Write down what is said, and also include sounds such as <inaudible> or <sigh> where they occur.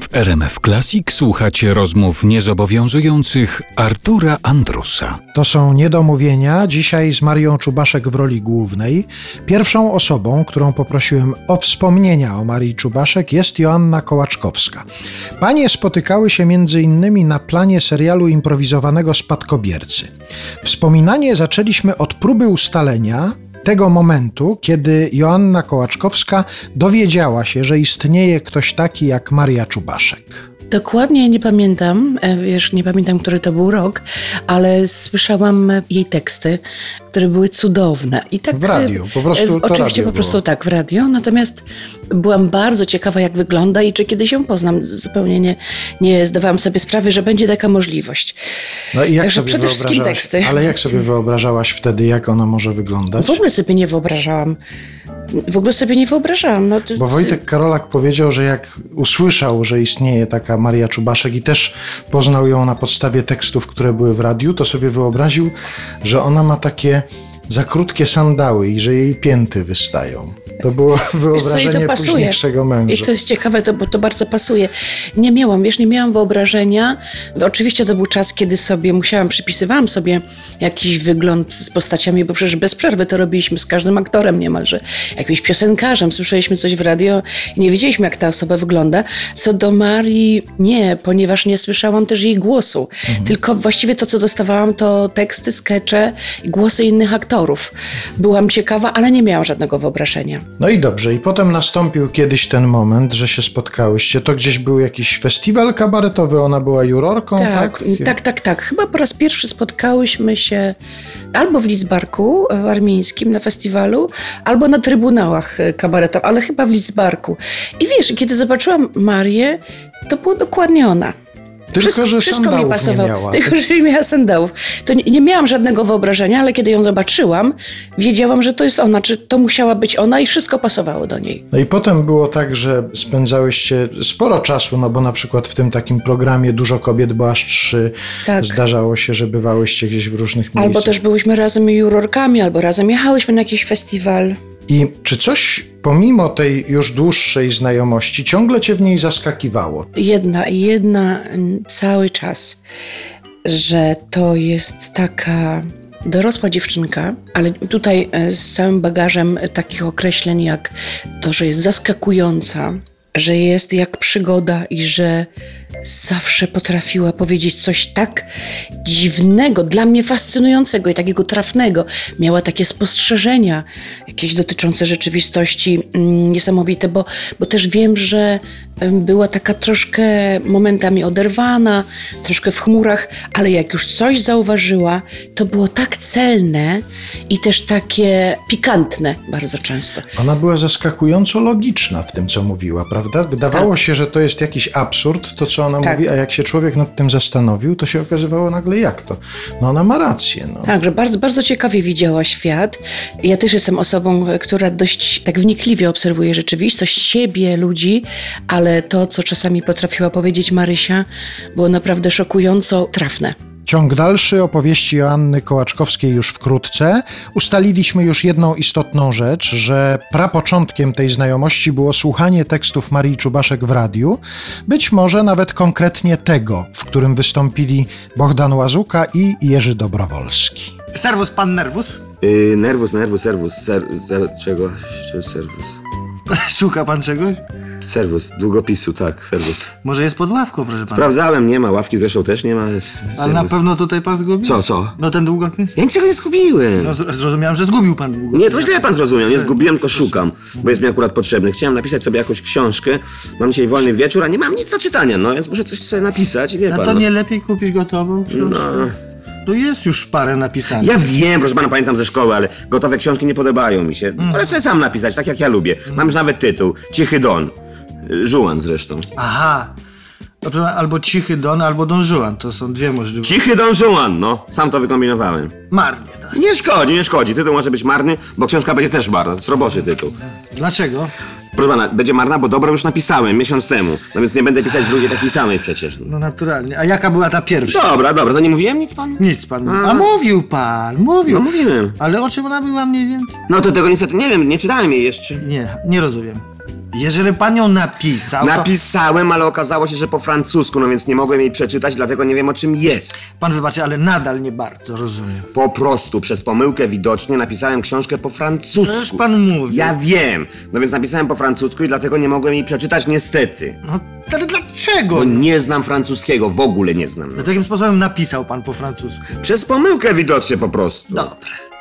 W RMF Classic słuchacie rozmów niezobowiązujących Artura Andrusa. To są niedomówienia, dzisiaj z Marią Czubaszek w roli głównej. Pierwszą osobą, którą poprosiłem o wspomnienia o Marii Czubaszek jest Joanna Kołaczkowska. Panie spotykały się między innymi na planie serialu improwizowanego Spadkobiercy. Wspominanie zaczęliśmy od próby ustalenia, tego momentu, kiedy Joanna Kołaczkowska dowiedziała się, że istnieje ktoś taki jak Maria Czubaszek. Dokładnie nie pamiętam, e, wiesz, nie pamiętam, który to był rok, ale słyszałam e, jej teksty, które były cudowne. I tak W radiu, po prostu e, to Oczywiście radio po prostu było. tak w radio, natomiast byłam bardzo ciekawa, jak wygląda i czy kiedyś ją poznam. Z- Zupełnie nie, nie zdawałam sobie sprawy, że będzie taka możliwość. No i jak Także sobie przede wszystkim wyobrażałaś- teksty. Ale jak sobie wyobrażałaś wtedy, jak ona może wyglądać? W ogóle sobie nie wyobrażałam. W ogóle sobie nie wyobrażałam. No, to, Bo Wojtek Karolak powiedział, że jak usłyszał, że istnieje taka Maria Czubaszek i też poznał ją na podstawie tekstów, które były w radiu, to sobie wyobraził, że ona ma takie za krótkie sandały i że jej pięty wystają. To było Wiesz co, i wyobrażenie późniejszego męża. I to jest ciekawe, to, bo to bardzo pasuje. Nie miałam, wiesz, nie miałam wyobrażenia. Oczywiście to był czas, kiedy sobie musiałam, przypisywałam sobie jakiś wygląd z postaciami, bo przecież bez przerwy to robiliśmy z każdym aktorem niemalże. Jakimś piosenkarzem, słyszeliśmy coś w radio i nie wiedzieliśmy, jak ta osoba wygląda. Co do Marii, nie, ponieważ nie słyszałam też jej głosu. Mhm. Tylko właściwie to, co dostawałam, to teksty, skecze i głosy innych aktorów. Byłam ciekawa, ale nie miałam żadnego wyobrażenia. No i dobrze, i potem nastąpił kiedyś ten moment, że się spotkałyście. To gdzieś był jakiś festiwal kabaretowy, ona była jurorką, tak? Tak, tak, tak, tak. Chyba po raz pierwszy spotkałyśmy się albo w Lidzbarku e, armińskim na festiwalu, albo na trybunałach e, kabaretowych, ale chyba w Lidzbarku. I wiesz, kiedy zobaczyłam Marię, to była dokładnie ona. Tylko, że sandałów nie miała. <laughs> Tylko, że nie miała sandałów. To nie, nie miałam żadnego wyobrażenia, ale kiedy ją zobaczyłam, wiedziałam, że to jest ona, czy to musiała być ona i wszystko pasowało do niej. No i potem było tak, że spędzałyście sporo czasu, no bo na przykład w tym takim programie Dużo Kobiet, bo aż trzy, Tak. zdarzało się, że bywałyście gdzieś w różnych miejscach. Albo też byłyśmy razem jurorkami, albo razem jechałyśmy na jakiś festiwal. I czy coś pomimo tej już dłuższej znajomości ciągle cię w niej zaskakiwało? jedna i jedna mm, cały czas, że to jest taka dorosła dziewczynka, ale tutaj e, z całym bagażem e, takich określeń jak to, że jest zaskakująca, że jest jak przygoda i że zawsze potrafiła powiedzieć coś tak dziwnego, dla mnie fascynującego i takiego trafnego. Miała takie spostrzeżenia jakieś dotyczące rzeczywistości mm, niesamowite, bo, bo też wiem, że em, była taka troszkę momentami oderwana, troszkę w chmurach, ale jak już coś zauważyła, to było tak celne i też takie pikantne bardzo często. Ona była zaskakująco logiczna w tym, co mówiła, prawda? Wydawało się, że to jest jakiś absurd, to co ona Tak. mówi, a jak się człowiek nad tym zastanowił, to się okazywało nagle jak to. No ona ma rację, no. Tak, że bardzo, bardzo ciekawie widziała świat. Ja też jestem osobą, e, która dość tak wnikliwie obserwuje rzeczywistość, siebie, ludzi, ale to, co czasami potrafiła powiedzieć Marysia, było naprawdę szokująco trafne. Ciąg dalszy opowieści Joanny Kołaczkowskiej już wkrótce. Ustaliliśmy już jedną istotną rzecz, że prapoczątkiem tej znajomości było słuchanie tekstów Marii Czubaszek w radiu, być może nawet konkretnie tego, w którym wystąpili Bohdan Łazuka i Jerzy Dobrowolski. Serwus pan nerwus? Y, nerwus, nerwus, serwus, ser, ser, czego? Serwus. <laughs> Szuka pan czegoś? Serwus, długopisu, tak, serwus. Może jest pod ławką, proszę pana. Sprawdzałem, nie ma ławki, zresztą też nie ma. Serwus. Ale na pewno tutaj pan zgubił? Co, co? No ten długopis? Ja niczego nie zgubiłem. No z- zrozumiałem, że zgubił pan długopis. Nie, to źle pan zrozumiał, nie zgubiłem, tylko szukam, bo jest mi akurat potrzebny. Chciałem napisać sobie jakąś książkę, mam dzisiaj wolny wieczór, a nie mam nic do czytania, no więc muszę coś sobie napisać, wie A pan. to no. nie lepiej kupić gotową książkę? No. Tu jest już parę napisanych. Ja wiem, proszę pana, pamiętam ze szkoły, ale gotowe książki nie podobają mi się. Mm. Ale sobie sam napisać, tak jak ja lubię. Mam już nawet tytuł, Cichy Don. Y, Żułan zresztą. Aha. No, proszę pana, Albo Cichy Don, albo Don Juan. To są dwie możliwości. Cichy Don Żułan, no. Sam to wykombinowałem. Marnie to jest. Nie szkodzi, nie szkodzi. Tytuł może być marny, bo książka będzie też marna. To jest roboczy tytuł. Dlaczego? Proszę pana, będzie marna, bo dobrą już napisałem miesiąc temu. No więc nie będę pisać drugiej takiej samej przecież. No naturalnie. A jaka była ta pierwsza? Dobra, dobra, to nie mówiłem nic panu? Nic pan. A mówił pan, mówił. No mówiłem. Ale o czym ona była mniej więcej? No to tego niestety nie wiem, nie czytałem jej jeszcze. Nie, nie rozumiem. Jeżeli pan ją napisał, to Napisałem, ale okazało się, że po francusku, no więc nie mogłem jej przeczytać, dlatego nie wiem o czym jest. pan wybaczy, ale nadal nie bardzo rozumiem. Po prostu przez pomyłkę widocznie napisałem książkę po francusku. Przecież No pan mówi. Ja wiem, no więc napisałem po francusku i dlatego nie mogłem jej przeczytać niestety. No, ale dlaczego? Bo nie znam francuskiego, w ogóle nie znam. No, to jakim sposobem napisał pan po francusku? Przez pomyłkę widocznie po prostu. Dobra.